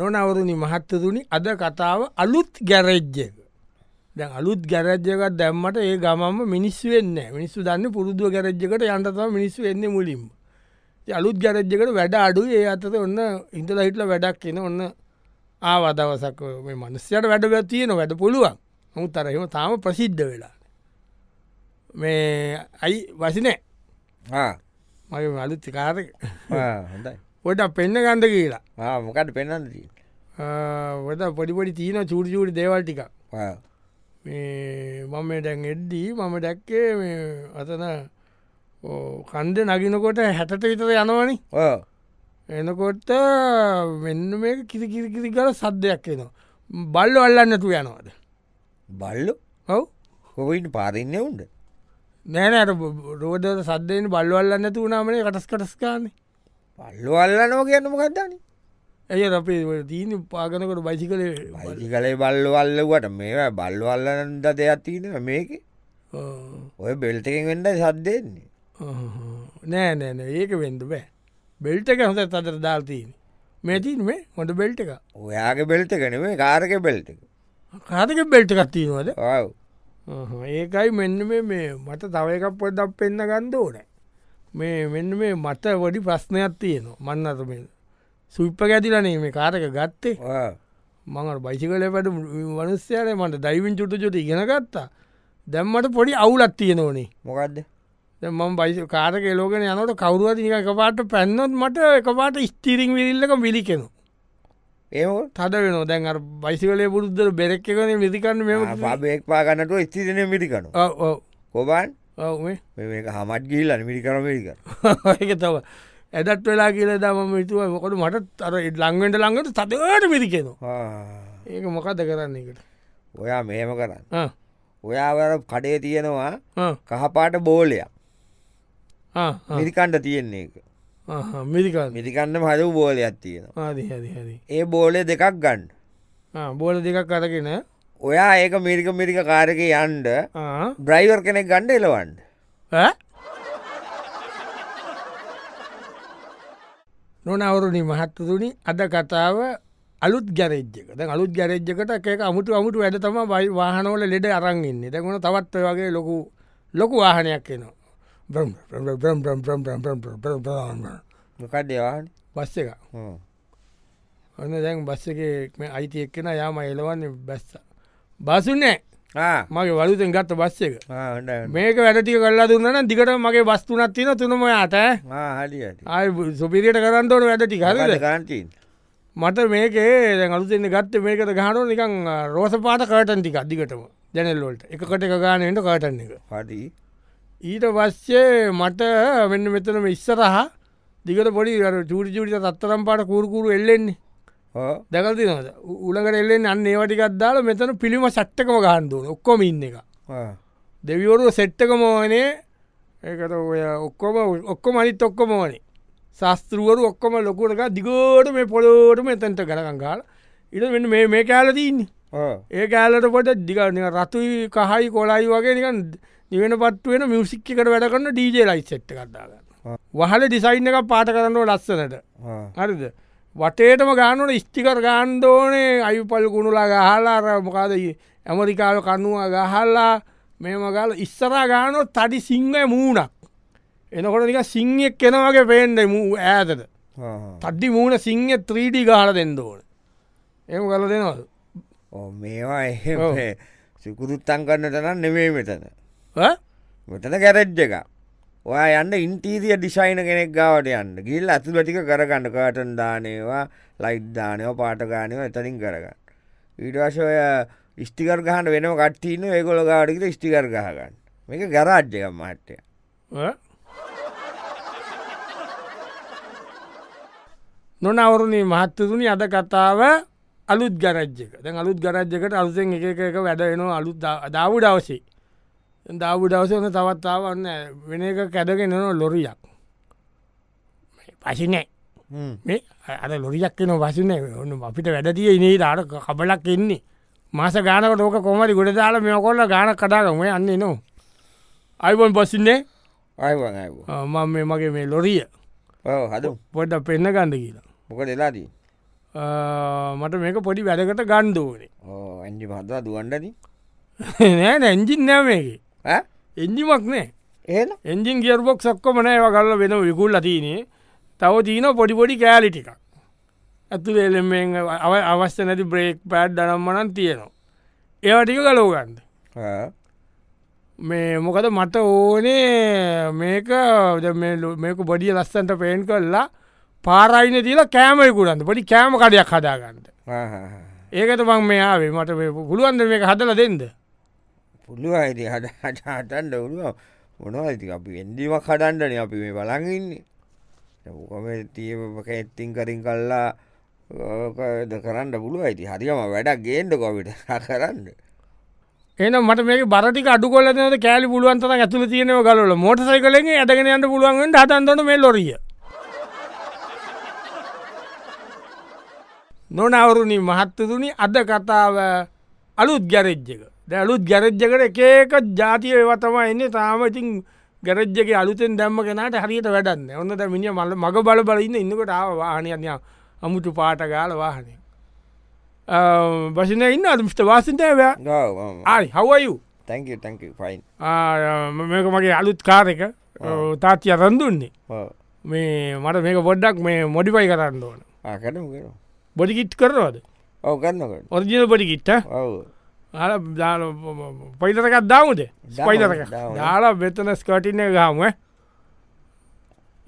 නොනවරුණි මහත්තතුනි අද කතාව අලුත් ගැරෙජ්ජක දැ අලුත් ගැරජ්ජකක් දැම්මට ඒ ගමම මිනිස් වෙන්න මිනිස්සු දන්න පුරුදුව ගැරජ්ජකට යන්තතම මිනිස්සු වෙන්න මුලින්ම ඉතින් අලුත් ගැරජ්ජකට වැඩ අඩු ඒ අතත ඔන්න ඉන්ටල හිටල වැඩක් කියෙන ඔන්න ආවදවසක් මේ මනස්්‍යයට වැඩ වැතියන වැඩ පුළුවන් මු තරහෙම තාම ප්‍රසිද්ධ වෙලා මේ අයි වසිනෑ මගේ අලුත් කාරක හොඳයි ොට පෙන්න ගණඩ කියලා ආ, මොකටද පෙන්න්න දී වඩ පොඩිපොඩි තියන චූරජූරි දේවල්ටික මම මේ දැන් එද්දී මම දැක්කේ මේ අතන ඕ, කන්ද නගිනකොට හැටට විතර යනවනි එනකොට වෙන්න මේ කිසිකිසිකිසි කර සද්ධයක් එනවා බල්ල අල්ලන්නතු යනවාද බල්ලු ඔව් කොවිට පාරින්න උන්ද නෑනෑට රෝධ සද්ධයෙන් බල්වල්ලන්න තුනාමනේ කටස් කටස්කාන්නේ පල්ලු අල්ලනෝ කියන්න මොකක්දන ඇය අපේ දීන පාගනකොට බයිසි කළේ අයිති කලේ බල්ලු අල්ලවට මේ බල්ලු අල්ලනන්ද දෙයක් තියෙන මේක ඔය බෙල්ටකෙන් වෙන්ඩ සද්දෙන්නේ නෑ නෑන ඒක වෙන්ඩ බෑ බෙල්ට එක හොස අතර දාල්තීන මේතින් මේ හොට බෙල්ට එක ඔයාගේ බෙල්ට කනේ කාරක බෙල්ට කාතක බෙල්ට කත්තිීනවද ඔව් ඒකයි මෙන්න මේ මේ මට තව එකක් පොඩක් පෙන්න්න ගන්ද ඕනෑ මේ මෙන්න මේ මට වඩි ප්‍රශ්නයක් තියනවා මන්න අත මේ සුප්ප ඇතිලනේ මේ කාරක ගත්තේ මඟට බයිසිකල පට වනස්්‍යයට මට දයිවින් චුට චුට ඉගෙන ගත්තා දැම්මට පොඩි අවුලත් තියෙන ඕනේ මොකක්ද දැන් මම බයිසි කාරක ලෝගෙන යනට කවරුවත් එක පාට පැන්නොත් මට එක පාට ස්තීරිං විරිල්ලක මිලිකෙනු ඒෝ තද වෙන දැන් අර බයිසිකලේ පුරුද්දර බෙරෙක් එකන විදිකන්න මෙම පබෙක් පාගන්නට ස්තිදන මිටිකනු කොබන් ඔවේ මේක හමත් ගිල්ලන මිටිකර මිටිකර ඒක තව ඇදත් වෙලා කියල දම විතුව මොකට මට අර ලංවෙන්ට ලඟට තදවට මිරිකෙනවා ඒක මොකක්ද කරන්න එකට ඔයා මෙහෙම කරන්න ආ, ඔයාවර කඩේ තියෙනවා ආ, කහපාට බෝලයක් ආ, ආ, මිරිකණ්ඩ තියෙන්නේ එක ආ, ආ, මිරිකන්න මිරිකන්න හදු බෝලයක් තියෙනවා ආදි හරි හරි ඒ බෝලය දෙකක් ගන්න බෝල දෙකක් අරගෙන ඔයා ඒක මිරික මිරික කාරක යන්ඩ ආ, බ්‍රයිවර් කෙනෙක් ගණ්ඩ එලවන්ඩ ඈ? නොනවරුණි මහත්තතුනි අද කතාව අලුත් ගැරෙජ්ජක ද අලුත් ගැරෙජ්ජකට එකක අමුතු අමුතු වැඩ තම බයි වාහනෝල ලෙඩ අරන්ගන්න දැකුණ තවත් ඔය වගේ ලොකු ලොකු වාහනයක් එනවා බ්‍රම් බ්‍රම් බ්‍රම් බ්‍රම් බ්‍රම් බ්‍රම් බ්‍රම් බ්‍රම් බ්‍රම් බ්‍රම් බ්‍රම්. මොකක් දෙවාන බස් එක ඔන්න දැන් බස් එකක් අයිති එක්කෙන යාම එලවන්නේ බැස්ස බසුනෑ මගේ වලුතෙන් ගත්ත බස් එක මේක වැඩටි කල්ලා දුන්නන දිකට මගේ බස්තුනත් තින තුනම යට හඩියට ආය සුපිරියට කරන්නට වැඩටි හරද කාන්ටීන් මට මේකේ අලුතන්න ගත්ත මේකට ගහනු නිකං රෝස පාට කරටන් ටික අධිකටම ජැනල්ලොල්ට එකට එක ගානට කරටන්න එක පටි ඊට පස්සේ මට මෙන්න මෙතනම ඉස්සරහ දිකට පොඩි චූරි චුරිට තත්තරම් පාට කූරකුරු එල්ලෙන්නේ දැකල්ති නොද උළඟට එල්ලෙන් අන්න ඒවටිකත්දාල මෙතන පිළිම සට්ටකම ගහන්දුවන ඔක්කොම ඉන්න එක දෙවිවරු සෙට්ටක මෝනේ ඒකට ඔය ඔක්කොම ඔක්කොම අනිත් ඔක්කොම ඕනේ ශස්තෘුවරු ඔක්කොම ලොකුරක දිගෝට මේ පොලෝට මෙතැන්ට කරගංගාල ඉට මෙන්න මේ මේ කෑලතින්නේ ඒ කෑල්ලට පොට දිගන රතුයි කහයි කොලයි වගේ නිකන් නිවෙන පත්වෙන මියසික්කට වැඩ කරන්න ඩීජේ ලයි සෙට්ට කටාගන්න ආ. වහල ඩිසයින් එක පාට කරන්නව ලස්සනට හරිද වටේටම ගානට ස්ටිකර ගාන්්ඩෝනේ අයුපල් ගුණුලා ගහලාර මොකාද ඊ ඇමරිකාල කන්නුව ගහල්ලා මෙම ගල ඉස්සරා ගානො තඩි සිංහ මූුණක් එනකොට නික සිංහෙක් කෙනවගේ පේන්ඩ මූ ඇතට තඩ්ඩි මූුණ සිංහ 3ඩි ගහල දෙන්න ඕන එම කල දෙනවද මේවා ඔව්. එ සිකුරුත්තන් කන්න තනම් නෙවේ මෙතන ඈ? මෙතන කැරෙජ්ජ එක ඔයා යන්න ඉන්ටීරිය ඩිසයින කෙනෙක් ගාවට යන්න ගිල් ඇතුලටික කරගන්න කාටන් දානේවා ලයිට් දානයෝ පාටගානයෝ එතනින් කරගන්න ඊටවශ ඔය ස්ටිකර් ගහන්න වෙන කට්ටීන ඒකොල ගාඩිකට ස්ටිකර් ගහගන්න මේක ගරාජ්ජක මහට්ටය නොනවරුණේ මහත්තතුනි අද කතාව අලුත් ගරජ්ජක දැන් අලුත් ගරජ්ජකට අලුසෙන් එක එක එක වැඩෙනවා අලුත් දාවු දවසේ දාවු දවසන තවත්තාවන්න වෙන එක කැඩගෙන නො ලොරියක් පසිනෑ මේ අද ලොරියක් න වසින ඔන්න අපිට වැඩතිය ඉනේ දාට කබලක් එන්නේ මාස ගානක ටෝක කොමරි ගොඩ දාල මෙකොල්ල ගාන කටාගම යන්නේ නො අයිබොන් පසින්නේ අයිවන් අයිෝ මම මේ මගේ මේ ලොරිය ඔව හදු පොඩ පෙන්න ගන්ද කියලා මොක දෙලාදී මට මේක පොඩි වැඩකට ගණ්ඩුවනේ ඕ ඇජි මහතුවා දුවන්ඩද නෑ නෑ එන්ජින් නෑ මේකේ එන්ජිමක් නෑ ඒ එන්ජින් ගියර්බොක් සක්කොමන ඒව කරල වෙන විකුල් අතිනේ තව තියන පොඩිපොඩි කෑලි ටිකක් ඇතු එලෙමෙන් අව අවශ්‍ය නැති බ්‍රේක් පෑඩ් දනම්මනන් තියෙනවා ඒවටික කලෝගන්ද මේ මොකද මට ඕනේ මේක ද මේ ලු- මේක බොඩිය ලස්සන්ට පේන් කරලා පාරයින තියලා කෑමයකුරන්ද පොඩි කෑම කඩයක් හදාගන්නට ඒකට මං මෙයාාවේ මට මේ පුළුවන්ද මේක හදල දෙෙන්ද පුළුව අයිති හට හටන්ඩ වුණුව මොනවති අපි එන්ඩිම කඩන්ඩන අපි මේ බලඟන්නේ ඕකම තියක ඇත්තිං කරින් කල්ලා ඕකද කරන්න පුළුව අයිති හරිම වැඩක් ගේන්ඩ කොවිට කරන්න එනම් මට මේ බරටි අඩු කොල ද කෑලි පුළුවන්තන ඇතුල තියනව ගලල මෝට සයිකලෙන් ඇදගෙන අන්න පුළුවන්ට හතන්තන මේ ලොරිය නොනවරුණි මහත්තතුනි අද කතාව අලුත් ගැරෙජ්ජක ද අලුත් ගැරෙජ්ජකට එකක ජාතිය ඒවතම එන්න තාමඉතින් ගැරජ්ජක අලුතෙන් දැම්ම කෙනට හරියට වැඩන්න ඔන්න මිනි මල්ල මඟ බල බලඉන්න ඉන්නකට ආවාහනයන්න අමුතු පාට ගාල වාහනය බසින ඉන්න අමිට වාසිතය ආයි හවයු තැක තැක පයින් මේක මගේ අලුත් කාරක තාත්තිය රඳුන්නේ මේ මට මේක පොඩ්ඩක් මේ මොඩිපයි කරන්න ඕන ආකටම කෙන බොඩිකිට් කරනවද ඔව කන්නකට ඔරිජිනල් බොඩිකිට්ට ඔව හල දාල පයිතරකක් දාමුද ස්පයිතරක දාමු. දාලා බෙතන ස්කටින ගාම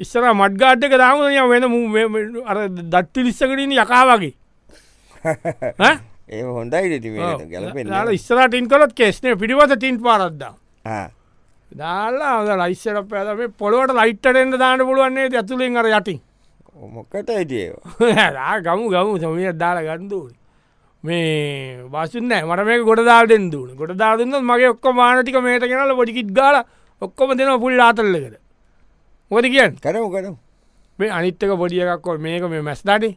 ඉස්සර මඩ්ගාට්ක දාමය වෙන මූ මේ- මේ අර දට්ටි ලිස්සකටින් යකා වගේ ඈ? ඒ හොඳයි ඉති ඔව්. ගැලපෙන් දාලා ඉස්සරහ ටින් කලොත් කෙස්නේ පිටිවත තින් පාරද්දා දාලා අද ලයිස්සර පැද මේ පොළොවට ලයිට්ටෙන්ට දාන්න පුළුවන්න්නේ ඇතුලින් අර යටටින් මොකට හිටිය රා ගමු ගමු සමිය දාල ගන්දුවන මේ බසුන්න මට මේ ගොඩ දාටෙන් දුන ගොඩ දාදන්න මගේ ඔක්කො මානටික මේට කෙනල පොඩිකිත් ගාල ඔක්කොම දෙන පුල් ආතල්ලකද මොද කියන් කරම කරම් මේ අනිත්තක පොඩියකක්කො මේක මේ මැස්දාටි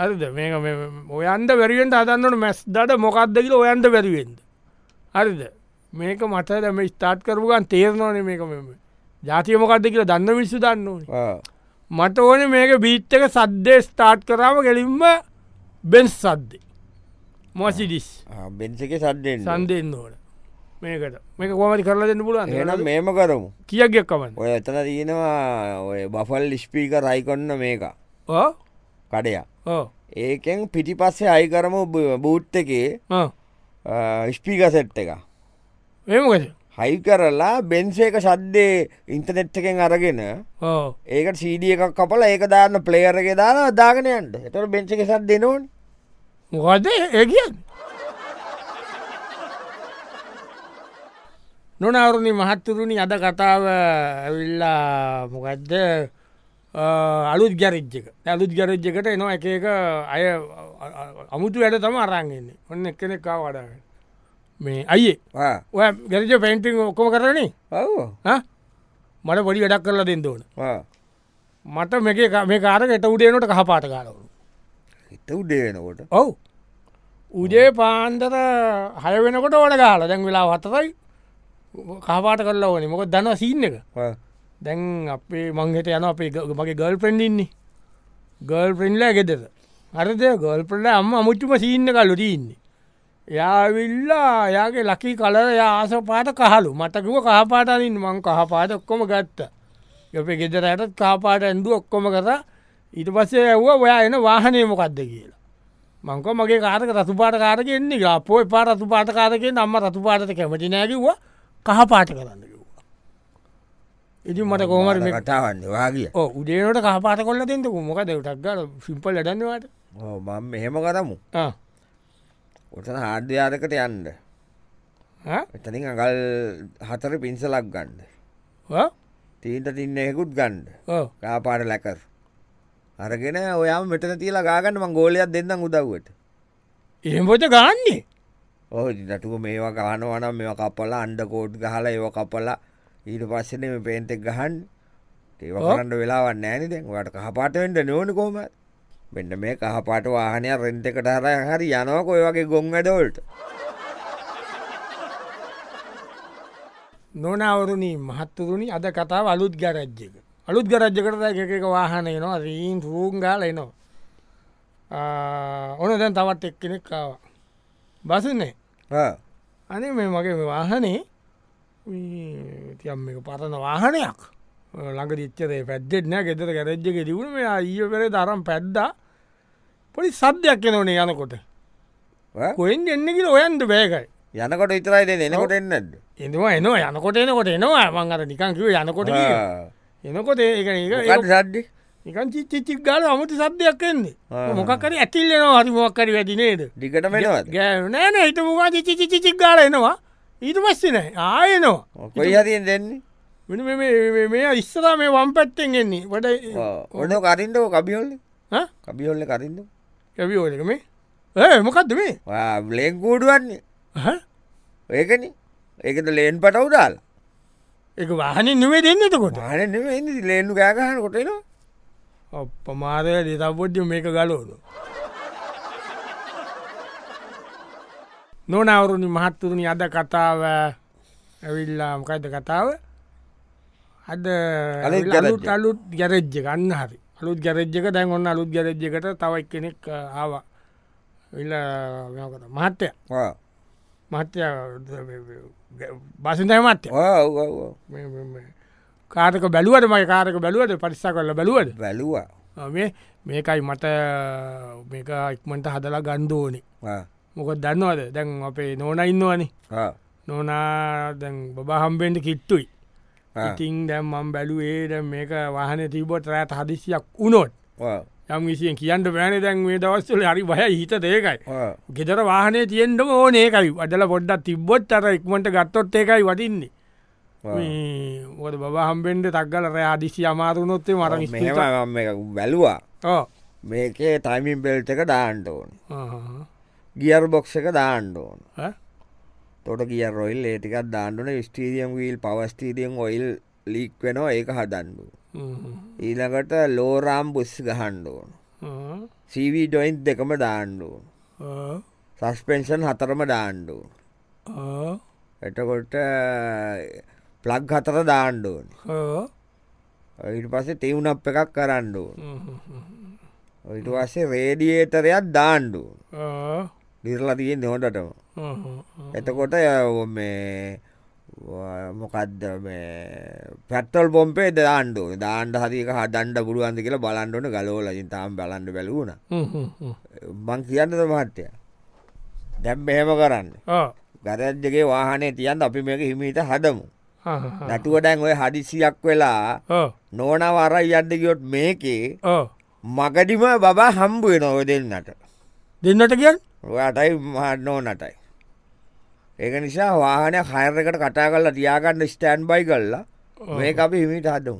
අද මේක ඔයන්ද වැරුවෙන්ට අදන්නට මැස් දට මොකක්දකිල ඔයන්ද වැරුවෙන්ද හරිද මේක මට දැම ස්ටාට් කරපුගන් තේරනවන මේක මෙම ජාතිය මොකක්ද කියලා දන්න විස්සු දන්න ඕන මට ඕන මේක බීච්චක සද්දේ ස්ටාර්ට් කරාම කෙලින්ම බෙන්ස් සද්දේ මොසිඩිස් බෙන්සික සද්ඩෙන් සන්දෙන්න්න ඕන මේකට මේක කොමති කරලා දෙන්න එනම් පුළුවන් මේම කරමු කියක්ගක් කමන්න ඔය එතන තියෙනවා ඔය බෆල් ස්පීක රයිකොන්න මේක ඕ කඩයා ඕ ඒකෙන් පිටි පස්සේ අයි කරම බූට් එකේ ආ. ස්පීක සෙට් එක ඒ මොකද හයි කරලා බෙන්සේක සද්දේ ඉන්ටනෙට් එකෙන් අරගෙන ඕ ඒකට සීඩිය එකක් කපල ඒක දාන්න පලේයරගේ දාන දාගනයන්ට එතට බෙන්සි එකෙ සත් දෙනවන් මොකද ඒගියන් නොනවරුණි මහත්තුරුණි අද කතාව ඇවිල්ලා මොකක්ද අලුත් ගැරජ්ජක ඇලුත් ගැරජ්ජකට එනවා එක එක අය අමුතු වැඩ තම අරන්ගන්නේ ඔන්න එක්කනෙක් කා වඩාගන්න මේ අයියේ ඔය ගැරජ පෙන්ටිං ඔක්කොම කරන්නේ ඔව හා? මට පොඩි වැඩක් කරලා දෙන්න ඕන මට මේක මේ කාරකට උඩේනොට කහපාට කාලවරු හිත උඩේනකොට ඔව් උදේ පාන්දර හය වෙනකොට ඕන ගාල දැන් වෙලා වතරයි කාපාට කරලා ඕනේ මොක දන්න සිීන්න එක දැන් අපේ මංගට යන අපේ ග- මගේ ගල් පෙන්ඩින්නේ ගල් පෙන්ලා ගෙදර අරද ගොල් පෙල්ල අම්ම අමුච්චුම සිීන්න කලු දීන්නේ යාවිල්ලා යාගේ ලකි කලර යාස පාට කහලු මටකුව කහපාටලින් මං කහපාට ඔක්කොම ගත්ත යොපේ ගෙදර ඇයටත් කාපාට ඇඳු ඔක්කොම කර ඊට පස්සේ ඇව්ව ඔයා එන වාහනය මොකක්ද කියලා මංක මගේ කාරක රතුපාට කාරක එන්නේ අපෝ එපා රතුපාට කාරකෙන් අම්ම රතුපාට කැමති නෑකිව්වා කහපාට කරන්න කිව්වා ඉතින් මට කෝමර මේ කටාවන්න වාගිය ඕ උදේනට කහපාට කොල්ල දෙෙන්ටක මොකද ටක්ගල සිිම්පල් ලඩන්නවට මම මෙහෙම කරමු ඔතන හාර්ධයාරකට යන්ඩ එතනින් අගල් හතර පින්සලක් ගණ්ඩ තීන්ට තින්න එහෙකුත් ගණ්ඩ කාපාට ලැකර් අරගෙන ඔයා මෙටන තියලා ගාගන්න මං ගෝලයක් දෙන්නම් උදව්වට එහෙම්පොච ගන්නේ ඔහ නටුව මේවා ගහනවනම් මෙ කපලා අන්ඩ කෝඩ් ගහලා ඒව කපලා ඊට පස්සන මේ පේන්තෙක් ගහන් ඒව ඔව්. කරන්න වෙලාවන්න ෑනි දැන් වට කහපාටෙන්ට නෝන කෝම මෙන්න මේ කහපාට වාහනය රෙන්ට එකට හර හරි යනවක ඔය වගේ ගොන් අඩෝල්ට නොනවරුණී මහත්තුරුණි අද කතාව අලුත් ගරජ්ජක අලුත් ගරජ්ජකරද එකක වාහනයනවා රීන් රූන් ගාල එනවා ඕන දැන් තවත් එක් කෙනෙක් කාව බසනේ අනේ මේ මගේ මේ වාහනේ තියම් මේ පරණ වාහනයක් ළඟ දිච්චරේ පැද්දෙත්න ගෙදර ගැරජ්ජ ෙරිවුණ මේ ඊය කරේ දරම් පැද්දා පොඩි සබ්දයක් එනවනේ යනකොට කොයින් එන්න කියල ඔයන්ද බෑකයි යනකොට ඉතරයි දෙ එනකොට එන්නද එනවා එනවා යනකොට එනකොට එනවා මං අර නිකං කිව යනකොට කියලා. එනකොට ඒක ඒක- සද්ඩි නිකන් චිච්චික් ගාල අමුති සබ්දයක් එන්නේ ආ. මොකක්කර ඇතිල්ලෙනවා හරිමක්කරි වැදිනේද දිගට මෙනවද ගෑනෑන හිට පුවා චිචිචික් ගාල එනවා ඊට පස්සනෑ ආයනවා කොයි හතියෙන් දෙන්නේ මෙන්න මේ- මේ- මේ- මේ ඉස්සලා මේ වම් පැත්තෙන් එන්නේ වට ඔන්න කරින්ටෝ කබියොල්ල කබියොල්ල කරින්ද කැවිෝලක මේ ඒ මොකක්ද මේ ලේක් ගූඩුවන්නේ හ? ඒකන ඒකට ලේන් පටවුඩාල් ඒක වාහනින් නෙවේ දෙන්නතකොට මාන ලේනු ගෑගහන කොටේනවා පමාරය දෙතපොඩ්ඩ මේක ගලෝද. නොනවරුණි මහත්තුරුණි අද කතාව ඇවිල්ලාම් කයිත කතාව අද අලුත් අලුත් ගැරේජ් අලුත් ගැරෙජ්ජ එක. ගන්න හරි අලුත් ගැරෙජ්ජක දැන් ඔන්න අලුත් ගැරෙජ්ජකට තවයි කෙනෙක් ආවා විල්ල මහත්තය මහත්‍ය බසිදය මත්‍ය කාරක බැලුවට මයි කාරක බැලුවට පරිස්සා කරල බැලුවට බැලුවා මේ මේකයි මට මේක ඉක්මට හදලා ගණ්ඩෝනේ මොක දන්නවද දැන් අපේ නෝන ඉන්නවනේ නෝනා දැන් බබහම්බෙන්ට කිට්ටුයි ඉතින් දැම් මම් බැලුවේ දැන් මේක වාහන තිබොට රෑත හදිසියක් වුණොත් යම් විසියෙන් කියන්න බෑන දැන් මේ දවස්සල හරි බය හිත දේකයි ගෙදර වාහනේ තියෙන්ටම ඕනේකයි අදල පොඩ්ඩක් තිබ්බොත් අර ඉක්මට ගත්තොත් ඒකයි වටින්නේ ඕද බබහම්බෙන්ට තක්ගල රෑ අදිසි අමාරුණොත්තේ මර මෙහම බැලුවා ඕ මේකේ තයිමින් බෙල්ට එක දාන්ට ඕන ආහ්. ගියර් බොක්ෂ එක දාන්ඩ ඕන ඈ? තොට ගිය රොයිල් ඒටිකක් දාණ්ඩුන ස්ටීරියම් වීල් පවස්ටීරියම් ඔයිල් ලීක් වෙනවා ඒක හදන්ඩු හ්ම්. ඊළඟට ලෝරාම් බුස් ගහන්ඩ ඕන ආ. සීවී ඩොයින්් දෙකම දාණ්ඩ ඕන ආ. සස්පෙන්ෂන් හතරම දාණ්ඩ ඕන ආ. එටකොට ප්ලග් හතර දාණ්ඩ ඕන ආ. ඉට පස්සේ තිවුණ අප එකක් කරන්න ඕන හ්ම්. ඉට පස්සේ රේඩියේටරයක් දාණ්ඩ ඕන ආ. දිරලා තියෙන් නොටටම ආ. ආ. එතකොට ඔ මේ වා- මොකක්ද මේ පැටල් පොම්පේ දාණ්ඩු දාණ්ඩ හරික හදන්ඩ පුළුවන්ද කියලා බලන්ඩුවන ගලෝලජින් තාම් බලන්ඩ බැලවුණ හ්ම්. හ්ම්. මං කියන්නද මහත්තය දැම් මෙහෙම කරන්න ආ. ගරජ්ජගේ වාහනේ තියන් අපි මේක හිමීට හදමු ආ. නැටුවඩැන් ඔය හදිසියක් වෙලා ආ. නෝනවරයි අඩ ගියොත් මේකේ ආ. මගඩිම බබා හම්බුව නොව දෙන්නට දෙන්නට කියන් ඔයාටයි මහනෝ නටයි. ඒක නිසා වාහනය හයරකට කටා කල්ලා තියාගන්න ස්ටෑන් බයි කල්ලා මේක අපි හිමිට හදමු